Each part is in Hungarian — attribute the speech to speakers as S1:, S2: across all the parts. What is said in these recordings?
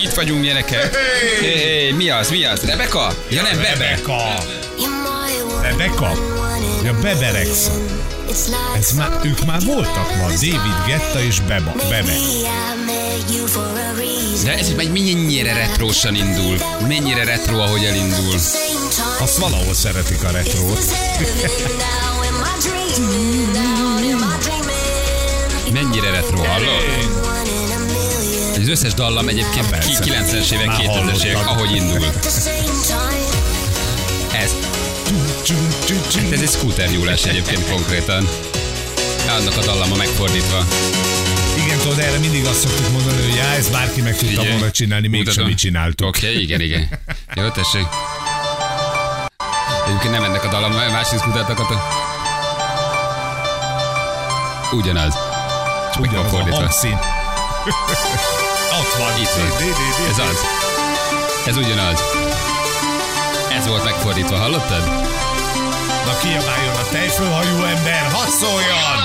S1: itt vagyunk, gyerekek. Hey, hey, mi az, mi az? Rebeka? Ja Hát nem, Bebe.
S2: Rebeka. Rebeka. Ja, Bebe Rexa. Ez már, ők már voltak ma, David Getta és Beba, Bebe.
S1: De ez meg mennyire retrósan indul. Mennyire retro, ahogy elindul.
S2: Azt valahol szeretik a retrót.
S1: Mennyire retro, hallod? Az összes dallam egyébként
S2: Persze.
S1: ki- 90-es évek,
S2: Már
S1: 2000-es évek,
S2: hallottam.
S1: ahogy indul. Ez. Hát ez egy scooternyúlás egyébként konkrétan. Annak a dallama megfordítva.
S2: Igen, tudod, erre mindig azt szoktuk mondani, hogy já, ezt bárki meg tudta
S1: Figyelj.
S2: volna csinálni, mégsem
S1: Mutatom.
S2: mi csináltuk.
S1: Oké, okay, igen, igen. Jó, tessék. Egyébként nem ennek a dallam, másik mutattak a... Ugyanaz. Csak meg van
S2: Ugyanaz a
S1: fordítva.
S2: hangszín. Ott van.
S1: Itt van. Ez az. Ez ugyanaz. Ez volt megfordítva, hallottad?
S2: Na kiabáljon a tejfölhajú ember, hadd szóljon!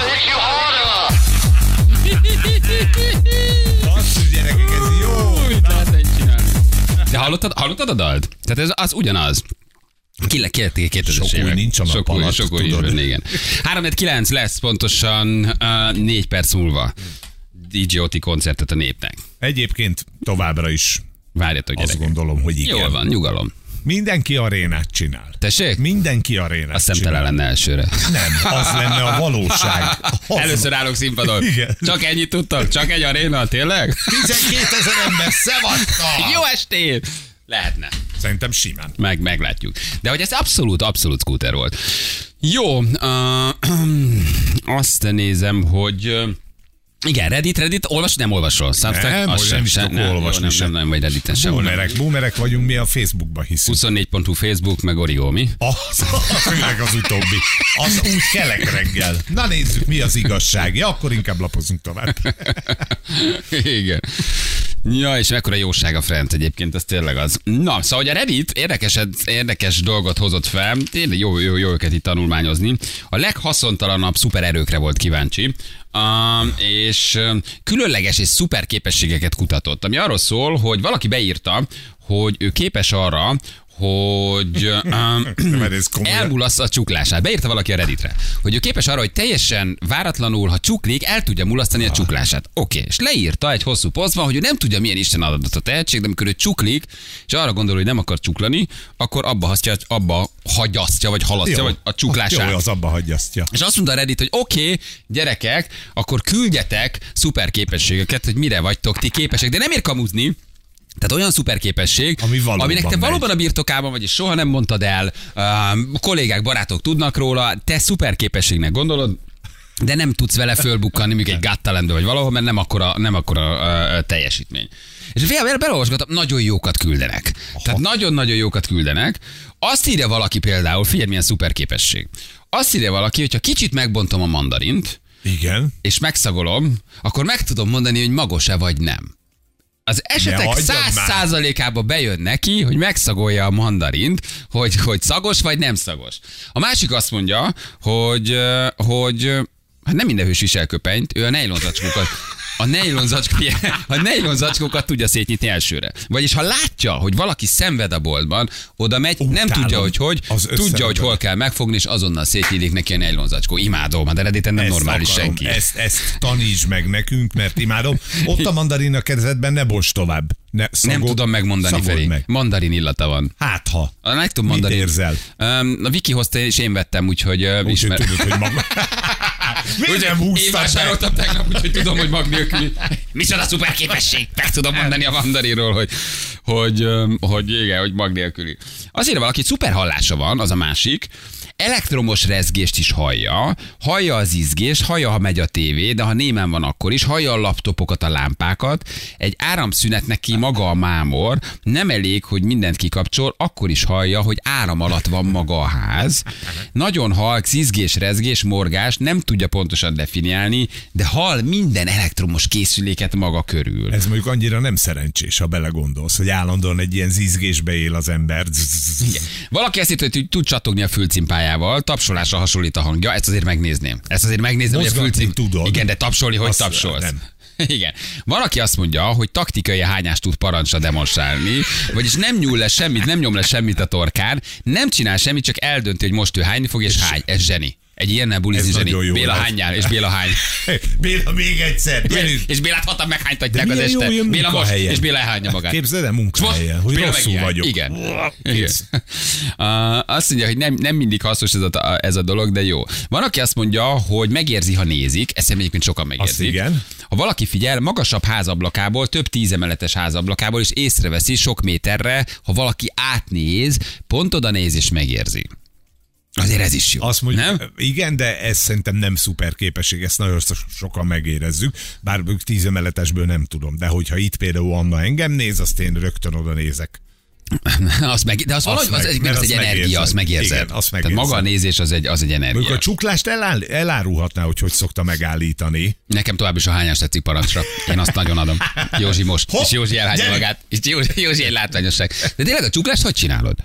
S2: Basszus gyerekek, ez jó!
S1: De hallottad, hallottad a dalt? Tehát ez az ugyanaz. Kille kérték 2000
S2: Sok új nincs a nap
S1: sok új,
S2: alatt,
S1: sok új is
S2: tudod.
S1: benne, igen. 349 lesz pontosan uh, 4 perc múlva. DJ Oti koncertet a népnek.
S2: Egyébként továbbra is
S1: Várjatok,
S2: azt
S1: gyerekek.
S2: gondolom, hogy igen.
S1: Jól van, nyugalom.
S2: Mindenki arénát csinál.
S1: Tessék?
S2: Mindenki arénát
S1: A
S2: csinál.
S1: szemtelen lenne elsőre.
S2: Nem, az lenne a valóság. Az
S1: Először állok színpadon.
S2: Igen.
S1: Csak ennyit tudtam? Csak egy aréna, tényleg?
S2: 12 ezer ember, szevatta!
S1: Jó estét! Lehetne.
S2: Szerintem simán.
S1: Meg, meglátjuk. De hogy ez abszolút, abszolút scooter volt. Jó, uh, azt nézem, hogy ö, igen, Reddit, Reddit, olvas, nem olvasol. Substack,
S2: Nem,
S1: az
S2: hogy nem is tudok
S1: jó,
S2: olvasni
S1: nem,
S2: sem.
S1: nem, nem, vagy Redditen sem.
S2: Boomerek, boomerek vagyunk, mi a Facebookba hiszünk.
S1: 24.hu Facebook, meg Origo, mi?
S2: Az, főleg az utóbbi. Az úgy kelek reggel. Na nézzük, mi az igazság. Ja, akkor inkább lapozunk tovább.
S1: Igen. Ja, és mekkora jóság a Frent egyébként, ez tényleg az. Na, szóval hogy a Reddit érdekes, érdekes dolgot hozott fel, tényleg jó, jó, jó őket itt tanulmányozni. A leghaszontalanabb szupererőkre volt kíváncsi, um, és um, különleges és szuper képességeket kutatott, ami arról szól, hogy valaki beírta, hogy ő képes arra, hogy um,
S2: Mert ez komoly.
S1: elmulaszza a csuklását. Beírta valaki a Redditre, hogy ő képes arra, hogy teljesen váratlanul, ha csuklik, el tudja mulasztani a
S2: Ah.
S1: csuklását. Oké, és leírta egy hosszú posztban, hogy ő nem tudja, milyen Isten adott a tehetség, de amikor ő csuklik, és arra gondol, hogy nem akar csuklani, akkor abba, hasztja, abba hagyasztja, vagy halasztja,
S2: Jó.
S1: vagy a
S2: Jó,
S1: csuklását.
S2: az abba hagyasztja.
S1: És azt mondta a Reddit, hogy oké, okay, gyerekek, akkor küldjetek szuperképességeket, hogy mire vagytok ti képesek. De nem ér kamuzni, tehát olyan szuperképesség,
S2: Ami valóban
S1: aminek te
S2: megy.
S1: valóban a birtokában vagy, és soha nem mondtad el, um, kollégák, barátok tudnak róla, te szuperképességnek gondolod, de nem tudsz vele fölbukkanni, mondjuk egy gattalendő vagy valahol, mert nem akkora, nem akkora ö, ö, teljesítmény. És véletlenül beleolvasgatom, nagyon jókat küldenek. Tehát nagyon-nagyon jókat küldenek. Azt írja valaki például, figyelj, milyen szuperképesség. Azt írja valaki, hogyha kicsit megbontom a mandarint,
S2: Igen.
S1: és megszagolom, akkor meg tudom mondani, hogy magos-e vagy nem. Az esetek
S2: hagyjad
S1: száz
S2: már.
S1: százalékába bejön neki, hogy megszagolja a mandarint, hogy, hogy szagos vagy nem szagos. A másik azt mondja, hogy, ö, hogy ö, hát nem minden hős visel köpenyt, ő a nejlonzacskókat a nejlonzacskó, a nejlonzacskókat tudja szétnyitni elsőre. Vagyis ha látja, hogy valaki szenved a boltban, oda megy, nem
S2: Utálom.
S1: tudja, hogy hogy,
S2: Az
S1: tudja, hogy
S2: összerakod.
S1: hol kell megfogni, és azonnal szétnyílik neki a nejlonzacskó. Imádom, de Redditen nem
S2: Ezt
S1: normális
S2: akarom.
S1: senki.
S2: Ezt, ezt tanítsd meg nekünk, mert imádom. Ott a mandarina kezedben ne bost tovább. Ne, szagol,
S1: Nem tudom megmondani,
S2: szagold
S1: Feri.
S2: Meg.
S1: Mandarin illata van.
S2: Hát ha.
S1: A nem tudom
S2: Mit
S1: mandarin.
S2: érzel?
S1: Öm, a Viki hozta, és én vettem, úgyhogy uh,
S2: Úgyhogy
S1: ismer.
S2: tudod, hogy maga. Miért nem
S1: Én
S2: húztad be?
S1: vásároltam tegnap, úgyhogy tudom, hogy mag nélküli. Micsoda szuper képesség! Meg tudom mondani a mandarinról, hogy, hogy, öm, hogy igen, hogy mag nélküli. Azért valaki szuper hallása van, az a másik. Elektromos rezgést is hallja, hallja az izgést, hallja, ha megy a tévé, de ha némen van, akkor is, hallja a laptopokat, a lámpákat. Egy áramszünet neki maga a mámor, nem elég, hogy mindent kikapcsol, akkor is hallja, hogy áram alatt van maga a ház. Nagyon halk, szizgés, rezgés, morgás, nem tudja pontosan definiálni, de hall minden elektromos készüléket maga körül.
S2: Ez mondjuk annyira nem szerencsés, ha belegondolsz, hogy állandóan egy ilyen zizgésbe él az ember.
S1: Igen. Valaki ezt hitt, hogy tud csatogni a fülcimpájával, tapsolásra hasonlít a hangja, ezt azért megnézném. Ezt azért megnézném, hogy a
S2: Mozgatni
S1: fülcim...
S2: tudod.
S1: Igen, de tapsolni, hogy
S2: Azt
S1: tapsolsz.
S2: nem.
S1: Igen. Van, aki azt mondja, hogy taktikai hányást tud parancsra demonstrálni, vagyis nem nyúl le semmit, nem nyom le semmit a torkán, nem csinál semmit, csak eldönti, hogy most ő hányni fog, és, és hány. Ez zseni. Egy ilyennel bulizni
S2: Ez nagyon
S1: zseni.
S2: jó
S1: Béla
S2: lesz.
S1: hányjál, és Béla hány.
S2: Béla még egyszer.
S1: És-
S2: Gyerünk.
S1: És Bélát hatan meghánytatják
S2: De
S1: az
S2: milyen jó
S1: este.
S2: ilyen
S1: Béla most,
S2: munkahelyen.
S1: és Béla elhányja magát.
S2: Képzeld el munkahelyen, hogy
S1: Béla
S2: rosszul
S1: megijed.
S2: vagyok.
S1: Igen. Igen.
S2: Kész.
S1: Uh, azt mondja, hogy nem, nem mindig hasznos ez a, ez a dolog, de jó. Van, aki azt mondja, hogy megérzi, ha nézik, ezt szerintem egyébként sokan megérzik.
S2: Azt igen.
S1: Ha valaki figyel, magasabb házablakából, több tízemeletes házablakából, és észreveszi sok méterre, ha valaki átnéz, pont oda néz és megérzi. Azért ez is jó.
S2: Azt mondja,
S1: nem?
S2: nem? igen, de ez szerintem nem szuper képesség, ezt nagyon so- sokan megérezzük, bár ők tíz emeletesből nem tudom, de hogyha itt például Anna engem néz, azt én rögtön oda nézek.
S1: Azt meg, de az valahogy,
S2: meg-
S1: az, egy-
S2: mert
S1: az, egy
S2: azt
S1: energia,
S2: megérzed.
S1: azt megérzed.
S2: Igen, azt
S1: Tehát
S2: megérzed.
S1: maga a nézés az egy, az egy
S2: Mondjuk
S1: energia.
S2: a csuklást eláll, elárulhatná, hogy hogy szokta megállítani.
S1: Nekem tovább is a hányás tetszik parancsra. Én azt nagyon adom. Józsi most.
S2: Hopp,
S1: és Józsi elhányja
S2: gyere!
S1: magát. És Józsi, Józsi egy látványosság. De tényleg a csuklást hogy csinálod?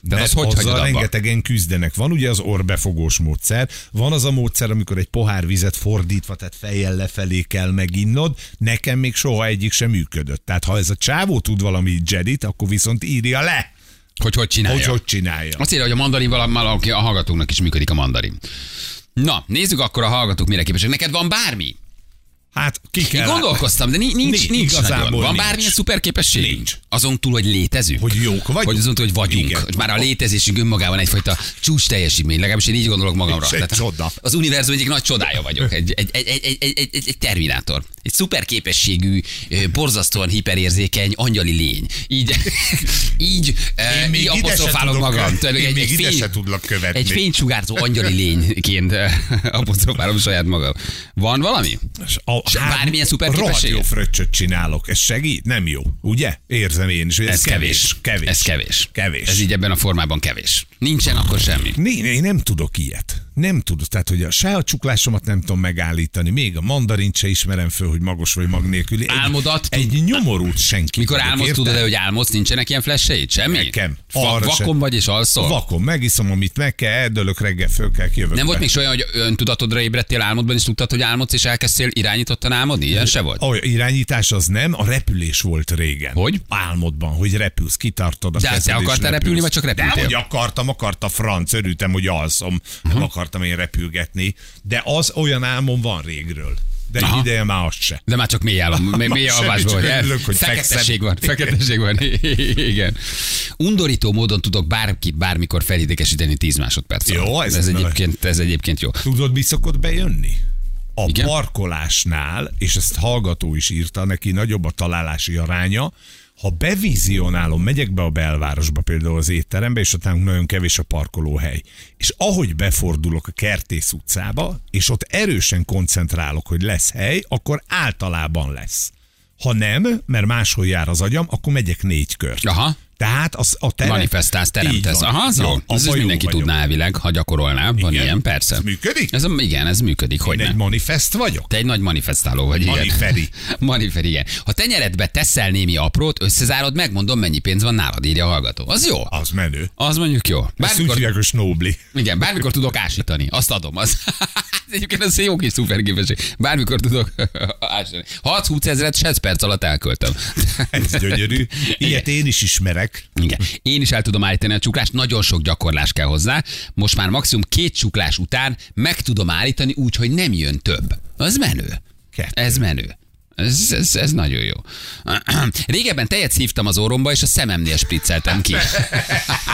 S1: De
S2: De
S1: az hogy hagyod
S2: azzal
S1: abba?
S2: rengetegen küzdenek. Van ugye az orbefogós módszer, van az a módszer, amikor egy pohár vizet fordítva, tehát fejjel lefelé kell meginnod, nekem még soha egyik sem működött. Tehát ha ez a csávó tud valami jedit, akkor viszont írja le,
S1: Hogy hogy
S2: hogy
S1: csinálja?
S2: hogy csinálja.
S1: Azt írja, hogy a mandarin valaki a hallgatóknak is működik a mandarin. Na, nézzük akkor a hallgatók mire képesek. Neked van bármi?
S2: Hát ki
S1: Én
S2: kell,
S1: gondolkoztam, de ni- nincs,
S2: Nincs,
S1: nincs, nincs
S2: igazából
S1: nagyon. Van
S2: nincs.
S1: bármilyen szuperképesség?
S2: Nincs.
S1: Azon túl, hogy létezünk?
S2: Hogy jók vagyunk?
S1: Hogy azon túl, hogy vagyunk.
S2: Igen.
S1: Igen. Már a létezésünk önmagában egyfajta csúcs teljesítmény, legalábbis én így gondolok magamra.
S2: És egy csoda.
S1: Az univerzum egyik nagy csodája vagyok. Egy, egy, egy, egy, egy, egy, egy, egy terminátor. Egy szuperképességű, ö, borzasztóan hiperérzékeny, angyali lény. Így, így, ö,
S2: Én még
S1: így
S2: ide se
S1: apostrofálom
S2: tudok
S1: magam.
S2: kö- én még ide se tudlak követni.
S1: Egy fénysugárzó angyali lényként ö, apostrofálom saját magam. Van valami?
S2: A, hát
S1: S bármilyen szuperképessége?
S2: Rohadt jó fröccsöt csinálok. Ez segít? Nem jó, ugye? Érzem én is, hogy ez,
S1: Ez kevés.
S2: Kevés.
S1: Ez kevés.
S2: Kevés.
S1: Ez így ebben a formában kevés. Nincsen akkor semmi.
S2: Né- Én nem tudok ilyet. Nem tudok. Tehát, hogy a, se a csuklásomat nem tudom megállítani, még a mandarint se ismerem föl, hogy magos vagy mag nélküli. Egy,
S1: Álmodat tud-
S2: Egy nyomorút senki.
S1: Mikor
S2: vagyok,
S1: álmodsz,
S2: érted?
S1: tudod, hogy álmodsz, nincsenek ilyen flesseid? Semmi?
S2: Nekem.
S1: Va-
S2: Arra
S1: vakon
S2: sem.
S1: vagy és alszol?
S2: Vakon, megiszom, amit meg kell, eldölök, reggel föl kell, jövök.
S1: nem volt
S2: be.
S1: még olyan, hogy öntudatodra ébredtél álmodban, és tudtad, hogy álmodsz, és elkezdtél irányítottan álmodni? Ilyen se volt?
S2: Olyan irányítás az nem, a repülés volt régen.
S1: Hogy?
S2: Álmodban, hogy repülsz, kitartod a
S1: De te
S2: kezed, és
S1: akartál
S2: repülsz.
S1: repülni, vagy csak repültél?
S2: De, hogy akartam, akart a franc, örültem, hogy alszom, nem akartam én repülgetni, de az olyan álmom van régről. De
S1: Aha.
S2: Aha. ideje már azt se.
S1: De már csak mély álom, mély, mély
S2: semmi,
S1: alvás
S2: csak
S1: volt.
S2: örülök, hogy
S1: Feketesség
S2: fekszem.
S1: van, feketesség van. Igen. Undorító módon tudok bárkit bármikor felidékesíteni 10 másodperc alatt.
S2: Jó, ez
S1: ez,
S2: nem
S1: egyébként, ez egyébként jó.
S2: Tudod, mi szokott bejönni? A
S1: Igen?
S2: Igen? parkolásnál, és ezt hallgató is írta, neki nagyobb a találási aránya, ha bevizionálom, megyek be a belvárosba például az étterembe, és ott nagyon kevés a parkolóhely. És ahogy befordulok a Kertész utcába, és ott erősen koncentrálok, hogy lesz hely, akkor általában lesz. Ha nem, mert máshol jár az agyam, akkor megyek négy kört.
S1: Aha.
S2: Tehát az, a terem...
S1: Manifestálsz, teremtesz.
S2: Így van.
S1: Aha, az jó.
S2: Na,
S1: Ez is
S2: abban jó
S1: mindenki
S2: vagyok.
S1: tudná elvileg, ha gyakorolná. Van
S2: Igen.
S1: ilyen, persze.
S2: Ez működik?
S1: Ez, a- igen, ez működik, hogy
S2: Én
S1: ne.
S2: egy manifest vagyok?
S1: Te egy nagy manifestáló vagy, igen.
S2: Maniferi.
S1: Maniferi, igen. Ha tenyeredbe teszel némi aprót, összezárod, megmondom, mennyi pénz van nálad, írja a hallgató. Az jó.
S2: Az menő.
S1: Az mondjuk jó.
S2: Ezt úgy
S1: Bármikor,
S2: hívják, hogy snóbli.
S1: igen, bármikor tudok ásítani. Azt adom. Az. Egyébként ez jó kis szuperképesség. Bármikor tudok ásítani. 6-20 ezeret 6 perc alatt elköltöm.
S2: Ez gyönyörű.
S1: Igen.
S2: Ilyet én is ismerek.
S1: Igen. Én is el tudom állítani a csuklást, nagyon sok gyakorlás kell hozzá. Most már maximum két csuklás után meg tudom állítani úgy, hogy nem jön több. Az menő.
S2: Kettő.
S1: Ez menő. Ez, ez, ez nagyon jó. Régebben tejet szívtam az orromba, és a szememnél spricceltem ki.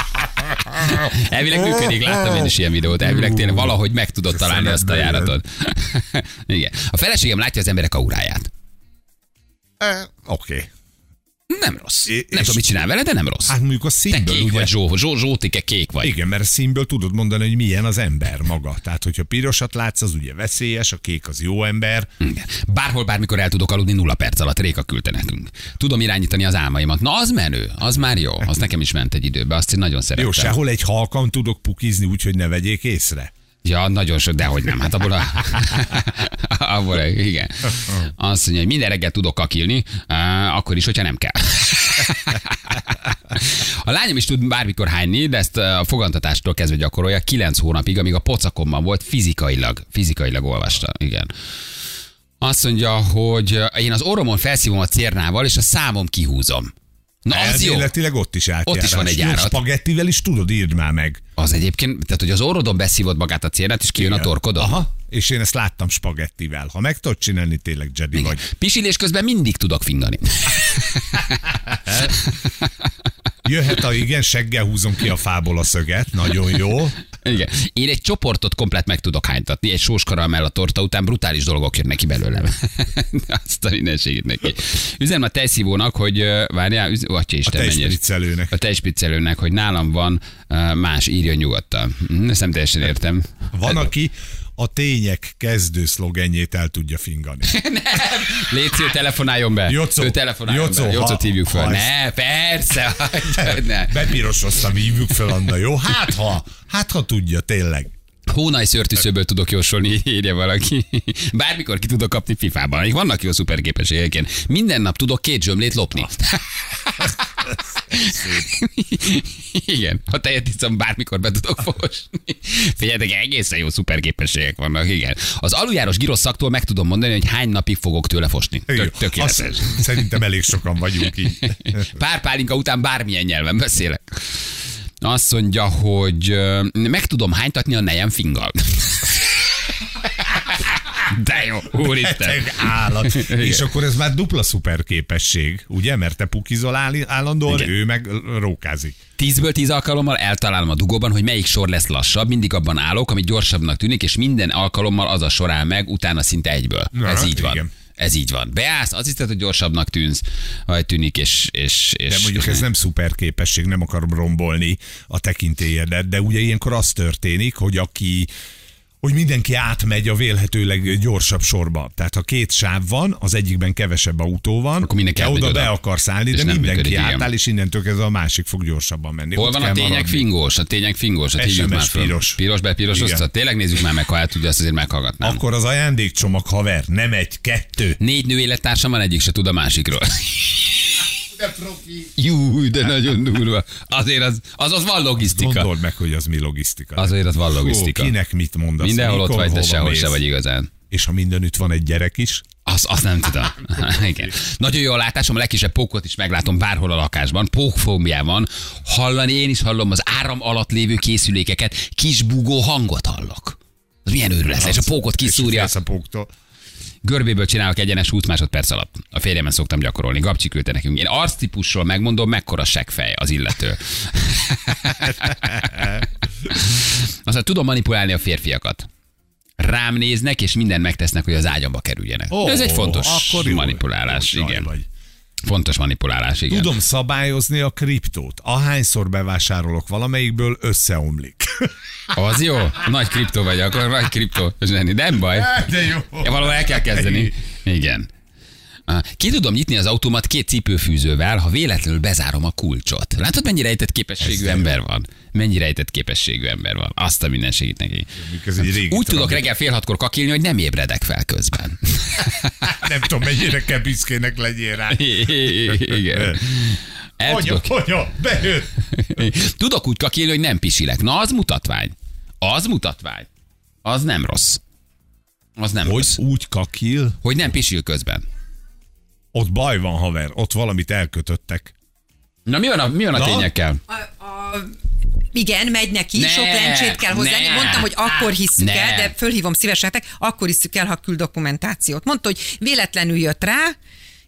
S1: Elvileg működik, láttam én is ilyen videót. Elvileg tényleg valahogy meg tudod találni azt a
S2: szemedbe
S1: járatot. Igen. A feleségem látja az emberek auráját.
S2: E, Oké. Okay.
S1: Nem rossz.
S2: És-
S1: Nem tudom, mit csinál vele, de nem rossz.
S2: Hát mondjuk a
S1: Te
S2: színből,
S1: kék
S2: ugye?
S1: vagy, Zsó, Zsó, Zsótike kék vagy.
S2: Igen, mert a színből tudod mondani, hogy milyen az ember maga. Tehát, hogyha pirosat látsz, az ugye veszélyes, a kék az jó ember.
S1: Igen. Bárhol, bármikor el tudok aludni nulla perc alatt, Réka küldte nekünk. Tudom irányítani az álmaimat. Na, az menő, az már jó. Az nekem is ment egy időbe, azt én nagyon szeretem.
S2: Jó, sehol egy halkan tudok pukizni, úgyhogy ne vegyék észre.
S1: Ja, nagyon sok, dehogy nem. Hát abból a... abból a... igen. Azt mondja, hogy minden reggel tudok kakilni, á, akkor is, hogyha nem kell. A lányom is tud bármikor hányni, de ezt a fogantatástól kezdve gyakorolja 9 hónapig, amíg a pocakomban volt fizikailag. Fizikailag olvasta, igen. Azt mondja, hogy én az orromon felszívom a cérnával, és a számom kihúzom. Na, az jó.
S2: Elméletileg ott is
S1: Ott
S2: átjárás.
S1: is van egy
S2: Jó,
S1: járat.
S2: Spagettivel is tudod, írd már meg.
S1: Az egyébként, tehát hogy az orrodon beszívod magát a cérnát, és kijön a torkodon.
S2: Aha. És én ezt láttam spagettivel. Ha meg tudod csinálni, tényleg Jedi
S1: Igen.
S2: vagy.
S1: Pisilés közben mindig tudok fingani.
S2: Jöhet a igen, seggel húzom ki a fából a szöget. Nagyon jó.
S1: Igen. Én egy csoportot komplet meg tudok hánytatni, egy sós karamell a torta után brutális dolgok jönnek neki belőlem. Azt a mindenségét neki. Üzenem a tejszívónak, hogy ö, várjál, üz... Ó, Atya Isten,
S2: A
S1: mennyes.
S2: tejspiccelőnek.
S1: A tejspiccelőnek, hogy nálam van ö, más, írja nyugodtan. Hm, Ezt nem teljesen értem.
S2: Van, aki a tények kezdő szlogenjét el tudja fingani.
S1: Léci, ő telefonáljon be.
S2: Jocó.
S1: Ő telefonáljon
S2: Jocó,
S1: be.
S2: ha-
S1: Jocót hívjuk föl.
S2: ha ezt-
S1: Ne, persze. hogy Ne.
S2: Bepirosoztam, hívjuk fel Anna, jó? Hát ha, hát ha tudja, tényleg.
S1: Hónaj szörtűszőből tudok jósolni, írja valaki. Bármikor ki tudok kapni fifában. Vannak jó szuperképességeken. Minden nap tudok két zsömlét lopni. Igen, ha tejet iszom, bármikor be tudok fosni. Figyeljetek, egészen jó szuperképességek vannak, igen. Az aluljáros girosszaktól meg tudom mondani, hogy hány napig fogok tőle fosni.
S2: Jó.
S1: Tök, tökéletes.
S2: Azt, szerintem elég sokan vagyunk így.
S1: Pár pálinka után bármilyen nyelven beszélek. Azt mondja, hogy ö, meg tudom hánytatni a nejem finggal. De jó, úristen.
S2: Beteg állat. És akkor ez már dupla szuperképesség, ugye? Mert te pukizol áll- állandóan,
S1: Igen.
S2: ő meg rókázik.
S1: Tízből tíz alkalommal eltalálom a dugóban, hogy melyik sor lesz lassabb, mindig abban állok, ami gyorsabbnak tűnik, és minden alkalommal az a sor áll meg, utána szinte egyből.
S2: Na, hát
S1: Ez így van.
S2: igen.
S1: Ez így van. Beállsz, azt hiszed, hogy gyorsabbnak tűnsz, vagy tűnik, és... és, és
S2: De mondjuk ez nem szuperképesség, nem akarom rombolni a tekintélyedet, de ugye ilyenkor az történik, hogy aki hogy mindenki átmegy a vélhetőleg gyorsabb sorba. Tehát ha két sáv van, az egyikben kevesebb autó van,
S1: Akkor mindenki
S2: te
S1: átmegy
S2: oda
S1: oda.
S2: be akarsz állni,
S1: És
S2: de
S1: nem
S2: mindenki
S1: működik, igen.
S2: átáll, és innentől kezdve a másik fog gyorsabban menni.
S1: Hol
S2: Ott
S1: van a
S2: kell
S1: tények
S2: maradni.
S1: fingós? A tények fingós, a hívjuk
S2: SMS
S1: már föl.
S2: piros.
S1: Piros belpiros
S2: Igen.
S1: osztat. Tényleg nézzük már meg, ha el tudja, azt azért meghallgatnám.
S2: Akkor az ajándékcsomag haver, nem egy, kettő.
S1: Négy nő élettársam van, egyik se tud a másikról. De profi. Jú, de nagyon durva. Azért az, az, az van logisztika.
S2: Gondold meg, hogy az mi logisztika.
S1: Azért az van logisztika.
S2: Ó, kinek mit mondasz?
S1: Mindenhol ott
S2: mikor,
S1: vagy, de
S2: hova
S1: sehol
S2: mész.
S1: se vagy igazán.
S2: És ha mindenütt van egy gyerek is,
S1: Azt, azt nem tudom. Igen. Nagyon jó a látásom, a legkisebb pókot is meglátom bárhol a lakásban. Pókfómia van. Hallani, én is hallom az áram alatt lévő készülékeket, kis bugó hangot hallok. Az milyen őrület, és a pókot kiszúrja.
S2: És a póktól.
S1: Görbéből csinálok egyenes 20 másodperc alatt. A férjemen szoktam gyakorolni. Gabcsi küldte nekünk. Én arctípusról megmondom, mekkora seggfej az illető. Aztán tudom manipulálni a férfiakat. Rám néznek, és mindent megtesznek, hogy az ágyamba kerüljenek. Oh, Ez egy fontos
S2: akkor jó.
S1: manipulálás.
S2: Jó,
S1: igen.
S2: Vagy.
S1: Fontos manipulálás, igen.
S2: Tudom szabályozni a kriptót. Ahányszor bevásárolok valamelyikből, összeomlik.
S1: Az jó. Nagy kriptó vagy, akkor nagy kriptó. Zseni, de nem baj.
S2: De jó.
S1: Ja, valahol el kell kezdeni. Igen. Ah, Ki tudom nyitni az automat két cipőfűzővel, ha véletlenül bezárom a kulcsot. Látod, mennyire rejtett képességű ember van? Mennyire rejtett képességű ember van? Azt a minden segít neki.
S2: Ez egy régi
S1: Úgy tudok
S2: tragédia.
S1: reggel fél hatkor kakilni, hogy nem ébredek fel közben.
S2: Nem tudom, mennyire kell büszkének legyél rá.
S1: Igen. El
S2: Anya,
S1: tudok
S2: anya, bejött.
S1: Tudok úgy kakélni, hogy nem pisilek. Na, az mutatvány. Az mutatvány. Az nem rossz. Az nem hogy?
S2: Hogy
S1: rossz.
S2: úgy kakil,
S1: Hogy nem pisil közben.
S2: ott baj van, haver, ott valamit elkötöttek.
S1: Na, mi van a, mi van a
S2: Na?
S1: tényekkel?
S3: A, a, igen, megy neki,
S1: Ne,
S3: ne, sok lencsét kell hozzá.
S1: ne,
S3: Mondtam, hogy akkor hisszük
S1: ne.
S3: ne. el, de fölhívom szívesen nektek, akkor hisszük el, ha küld dokumentációt. Mondta, hogy véletlenül jött rá,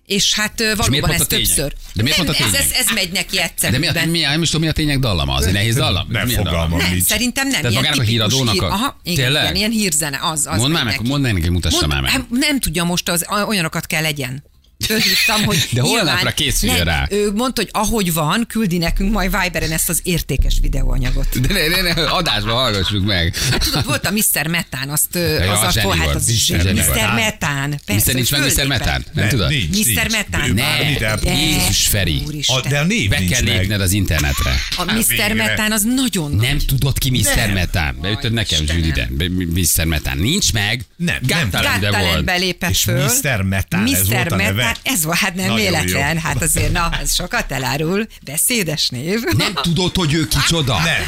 S3: és hát ö, valóban
S1: mondta
S3: ez
S1: tények?
S3: többször.
S1: De miért
S3: nem,
S1: mondta
S3: ez, ez,
S1: tények?
S3: ez megy neki egyszer.
S1: De mi a, mi a, nem is tudom, mi a tények dallama? Az egy nehéz dallam? Milyen
S2: Nem
S1: dallam?
S2: fogalmam
S3: nem,
S2: nincs.
S3: szerintem nem.
S1: Tehát
S3: ilyen
S1: magának a
S3: tipikus
S1: híradónak
S3: hír-
S1: a-
S3: Aha, igen,
S1: Tényleg?
S3: igen, ilyen hírzene, az. az
S1: Mondd már
S3: megy
S1: meg,
S3: neki.
S1: mondd már neki, mutassa
S3: Mondd-
S1: már meg.
S3: hát Nem tudja most, az, olyanokat kell legyen. Fölhívtam, hogy
S1: De
S3: nyilván-
S1: holnapra készüljön
S3: nem,
S1: rá.
S3: Ő mondta, hogy ahogy van, küldi nekünk majd Viberen ezt az értékes videóanyagot.
S1: De ne, ne, ne, adásba hallgassuk meg.
S3: Hát tudod, volt a Mr. Metán, azt ö,
S1: Ja,
S3: az
S1: a
S3: a
S1: zseni
S3: fo- hát
S1: volt.
S3: az
S1: Mr.
S3: zseni.
S1: Metán.
S3: Mr. Metán.
S1: Mr.
S3: Persze,
S1: nincs meg
S3: hogy
S1: Mr.
S3: föllépett.
S1: Metán? Nem tudod?
S2: Nincs,
S3: Mr.
S2: nincs.
S3: Metán.
S2: Ő
S1: Ne.
S2: már annyit el-
S3: De,
S1: Jézus Feri.
S3: Úristen.
S2: A, de a név
S1: Be
S2: nincs
S1: kell
S2: meg.
S1: lépned az internetre.
S3: A Mr.
S2: végre.
S3: Metán az nagyon nagy.
S1: Nem tudod ki Mr. Metán. Beütöd nekem,
S3: Istenem.
S1: Zsüli, de B- Mr. Metán. Nincs meg.
S2: Nem, nem.
S1: Gáttalan, de
S3: Gáttalan
S1: volt.
S3: belépett
S2: És
S3: föl.
S2: Mr. Metán, ez volt a
S3: Mr.
S2: neve?
S3: Metán, ez volt, hát nem
S2: Nagyon
S3: véletlen.
S2: jó.
S3: Hát azért, na, ez sokat elárul. Beszédes név.
S1: Nem tudod, hogy ő kicsoda.
S2: Nem.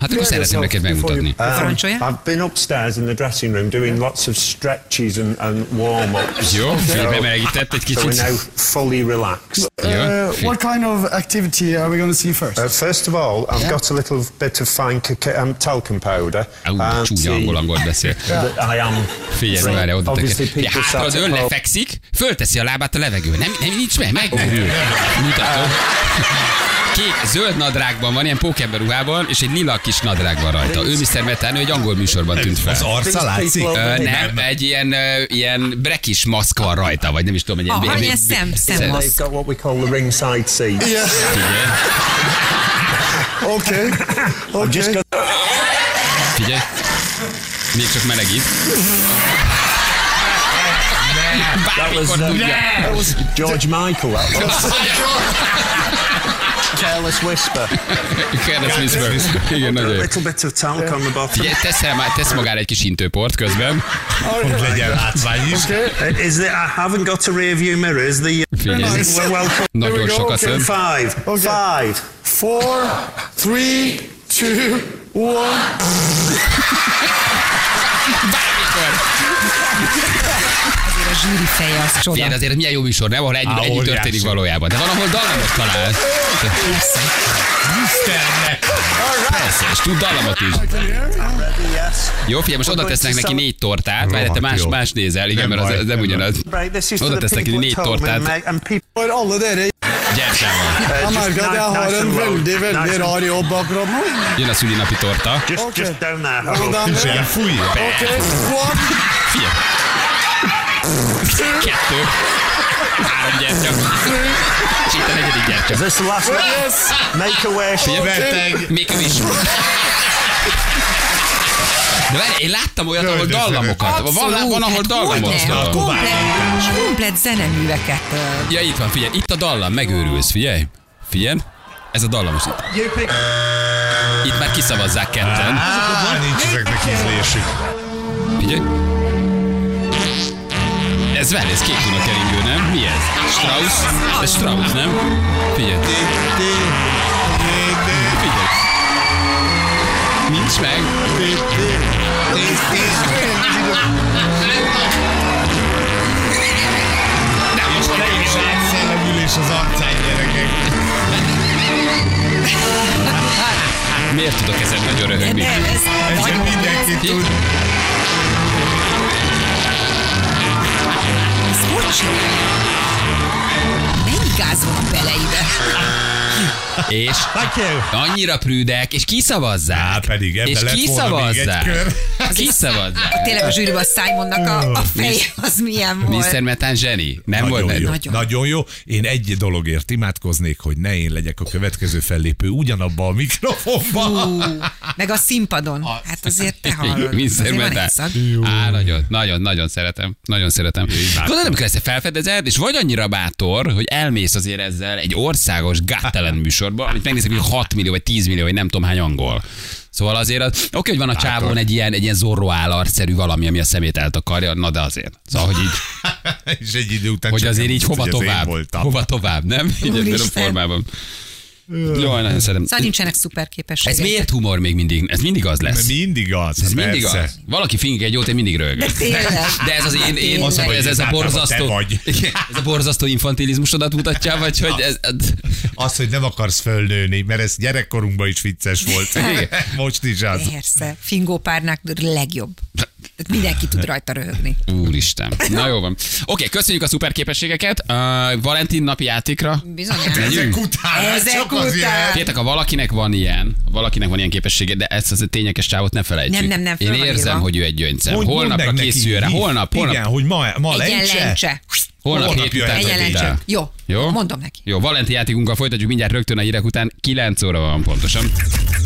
S1: Hát akkor szeretném neked megmutatni.
S3: Parancsolja?
S4: Um, I've been upstairs in the dressing room doing lots of stretches and, and warm-ups.
S1: Jó, Filipe melegített egy
S4: So we're
S1: kicsit.
S4: now fully relaxed.
S1: Jó,
S5: Uh,
S1: Filipe.
S5: what kind of activity are we going to see first?
S4: Uh, first of all, I've got a little bit of fine coca- um, talcum powder.
S1: Ú, de csúnya
S4: tea
S1: angol angol beszél.
S4: that I am.
S1: Figyelj, várj, oda
S4: Obviously
S1: teker. Ja,
S4: people
S1: hátra az
S4: start-
S1: ön lefekszik, fölteszi a lábát a levegő. Nem, nem nincs meg, megőrül. Mutatom. Kék, zöld nadrágban van, ilyen pókember ruhában, és egy lila kis nadrág van rajta. Ő Mr. Metánő egy angol műsorban tűnt fel.
S2: Az arca látszik?
S1: Ö, nem, egy ilyen, ö, ilyen brekis maszk van rajta, vagy nem is tudom, egy ilyen...
S3: Aha,
S1: b- b-
S3: ilyen
S1: b-
S3: szem, szemmaszk.
S4: They've got what we call the ringside seat.
S5: Okay.
S4: I've just
S5: okay.
S4: got
S1: Figyelj, még csak melegít. Bármikor tudja.
S4: uh, George Michael. That was. Careless whisper.
S1: Careless Whisper. Igen,
S4: A
S1: nagyon jó.
S4: little bit of talc on the bottom.
S1: Figyelj, tesz, el- tesz magára egy kis intőport közben.
S2: Hogy legyen látvány is.
S4: Uh, Is there, I haven't got a rear view mirror. Is the uh,
S1: Figyelj,
S5: Nice.
S4: well, well
S5: There
S1: nagyon
S5: we go,
S1: sokat
S5: okay.
S1: ön.
S4: five,
S5: Okay.
S4: five.
S5: Four, three, two, one.
S1: Bármikor.
S3: Azért a zsűri feje az
S1: Hát Ilyen
S3: csoda.
S1: azért milyen jó műsor, nem? Ahol ennyi,
S2: Á,
S1: ennyi
S2: óriási.
S1: történik valójában. De van, ahol dallamot talál. Persze, és tud dallamot is.
S4: Ready, yes.
S1: Jó, figyelj, most oda tesznek neki négy tortát, mert te más,
S2: jó.
S1: más nézel, igen,
S2: Nem
S1: mert az,
S2: baj,
S1: az nem
S2: nem
S1: ugyanaz.
S4: Right, this is
S1: Oda
S4: for the
S1: tesznek neki
S4: people
S1: négy
S4: at home
S1: tortát.
S4: and, make- and people
S5: För alla där
S1: Gyersával.
S4: uh,
S5: jag
S4: just
S5: märker att
S4: nice-
S5: jag har
S4: nice
S5: en
S4: and low.
S5: väldigt,
S4: Nice
S5: väldigt
S4: and-
S5: rar jobb bakom mig.
S1: Jön a szülinapi torta.
S4: Just,
S5: Okay.
S4: just down there. Harold.
S5: Down
S2: És
S5: there.
S2: ilyen fújja.
S5: Okay, one,
S1: Figyelj. Kettő. Három gyertya. És itt a negyedik gyertya.
S4: This last one.
S5: yes.
S4: Make a wish.
S2: Beteg.
S1: Még ő is. De várj, én láttam olyat, ahol
S2: Földön
S1: dallamokat. Van,
S3: Abszolút,
S1: van ahol
S3: hát hogyne,
S1: dallamoznak.
S3: Komplet, komplet zeneműveket. ö,
S1: Ja, itt van, figyelj, itt a dallam, megőrülsz, figyelj. Figyelj, ez a dallamos itt. Itt már kiszavazzák ketten.
S2: Á, nincs ezeknek ízlésük.
S1: Figyelj. Ez vel, ez kék a keringő, nem? Mi ez? Strauss? Ez Strauss, nem? Figyelj. Figyelj. Nincs meg. Nem, most már én is el-
S2: Szellemülés az arcán, gyerekek.
S1: Miért tudok ezen nagyon röhögni?
S3: Nem, ez
S2: Ezen
S3: nagyon
S2: mindenki tud.
S3: Ez hogy csinálja? Mennyi gáz van bele ide?
S1: És annyira prűdek, és kiszavazzák.
S2: Á, Hát pedig ebben
S1: és
S2: lett volna még egy
S1: kiszavazzák. Hát
S2: kör.
S1: Kiszavazzák.
S3: Tényleg a zsűriben a Simonnak a, a feje az milyen volt.
S1: Mr. Metán zseni. Nem volt
S2: Nagyon
S1: egy.
S2: jó.
S3: Nagyon.
S2: Nagyon. Nagyon jó. Én egy dologért imádkoznék, hogy ne én legyek a következő fellépő ugyanabba a mikrofonba.
S3: Ú, meg a színpadon. Hát azért te hallod.
S1: Mr.
S3: Azért van egy
S1: Metán.
S3: szag.
S1: Á, nagyon, nagyon, nagyon szeretem. Nagyon szeretem. Tudod, amikor ezt felfedezed, és vagy annyira bátor, hogy elmész azért ezzel egy országos gáttelen műsorba, amit megnézek, hogy 6 millió, vagy 10 millió, vagy nem tudom hány angol. Szóval azért, az, oké, hogy van a csávón egy ilyen, egy ilyen zorro állarszerű valami, ami a szemét eltakarja, na de azért. Szóval, hogy így,
S2: És egy idő után
S1: hogy
S2: Hát csak
S1: azért
S2: nem
S1: így
S2: tudsz,
S1: hova
S2: hogy az én
S1: tovább.
S2: voltam.
S1: Hova tovább, nem? Így ebben a
S3: Úristen.
S1: formában. Jaj, nagyon
S3: Szóval
S1: szeretem.
S3: nincsenek szuper
S1: Ez
S3: képességek.
S1: miért humor még mindig? Ez mindig az
S2: Mert
S1: lesz.
S2: mindig az.
S1: Ez mindig
S2: persze.
S1: az. Valaki fingik egy jót, én mindig röhögök.
S3: Tényleg.
S1: De ez az én, én
S3: Az,
S1: ez,
S2: hogy
S1: ez, ez a
S2: általában
S1: borzasztó,
S2: hát te vagy.
S1: Igen, ez a borzasztó infantilizmusodat mutatja, vagy hogy ez,
S2: Az, hogy nem akarsz fölnőni, mert ez gyerekkorunkban is vicces volt.
S1: Igen.
S2: Most is az.
S3: Persze, fingópárnák legjobb. Tehát mindenki tud rajta röhögni.
S1: úristen. Na jó van. Oké, köszönjük a szuperképességeket. Uh, Valentin napi játékra.
S3: Bizonyára.
S2: Ezek után. hát
S3: Ezek
S2: csak azért.
S3: után.
S1: Tétek, ha valakinek van ilyen, ha valakinek van ilyen képessége, de ezt az tényekes csávot ne felejtsük.
S3: Nem, nem, nem, föl
S1: Én
S3: van
S1: érzem,
S3: írva.
S1: hogy ő egy gyöngyszem.
S2: Mondd- mondd
S1: Holnapra
S2: meg neki,
S1: készüljön rá.
S2: hív.
S1: Holnap, holnap.
S2: Igen, hogy ma, ma
S3: Egyen
S2: lencse?
S3: lencse.
S1: Holnap,
S2: Holnap
S1: hét
S2: jöhet
S1: után
S2: egy
S1: történik.
S3: lencse. Jó.
S1: Jó?
S3: Mondom neki.
S1: Jó, Valenti játékunkkal folytatjuk mindjárt rögtön a hírek után. 9 óra van pontosan.